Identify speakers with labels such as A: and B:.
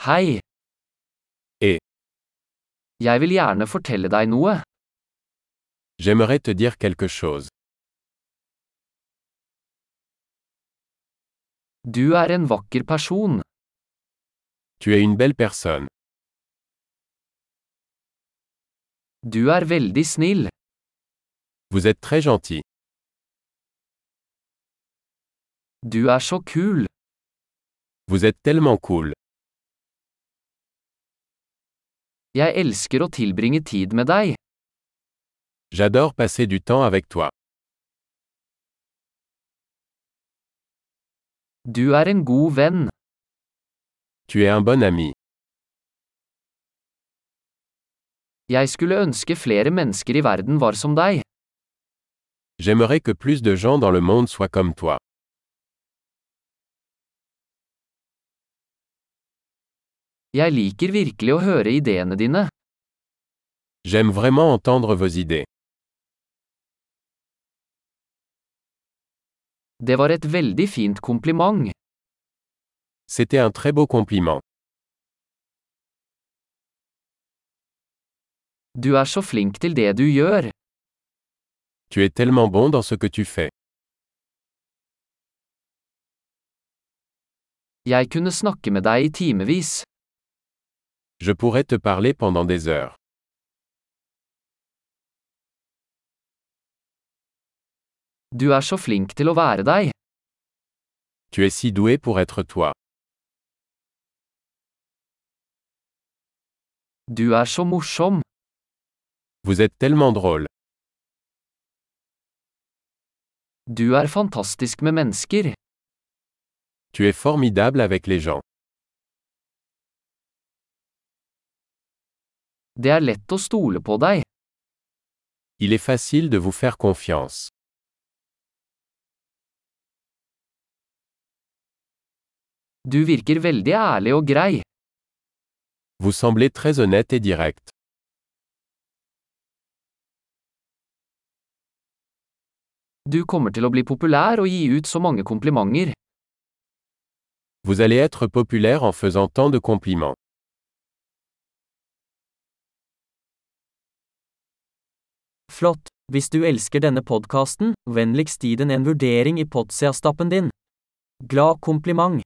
A: Hei.
B: Eh.
A: Jeg vil gjerne fortelle deg noe.
B: J'aimerais te dire quelque chose.
A: Du er en vakker person.
B: Tu es une belle personne.
A: Du er veldig snill.
B: Vous êtes très gentil.
A: Du er så kul.
B: Vous êtes tellement cool.
A: Jeg elsker å tilbringe tid med deg.
B: J'adore passer du temps avec toi.
A: Du er en god venn.
B: Tu es un bon ami.
A: Jeg skulle ønske flere mennesker i verden var som deg.
B: J'aimerais que plus de gens dans le monde soient comme toi.
A: Jeg liker virkelig å høre ideene dine.
B: J'aime vraiment entendre vos idées.
A: Det var et veldig fint kompliment.
B: C'était un très beau compliment.
A: Du er så flink til det du gjør.
B: Tu es tellement bon dans ce que tu fais.
A: Jeg kunne snakke med deg i timevis.
B: Je pourrais te parler pendant des heures.
A: Du er så flink til å være deg.
B: Tu es si doué pour être toi.
A: Du er så morsom.
B: Vous êtes tellement drôle.
A: Du er fantastisk med mennesker.
B: Tu es formidable avec les gens.
A: Det er lett å stole på deg.
B: Il est facile de vous faire confiance.
A: Du virker veldig ærlig og grei.
B: Vous semblez très honnête et direct.
A: Du kommer til å bli populær og gi ut så mange komplimenter.
B: Vous allez être populaire en faisant tant de compliments.
C: Flott! Hvis du elsker denne podkasten, vennligst gi den en vurdering i podseastappen din. Glad kompliment!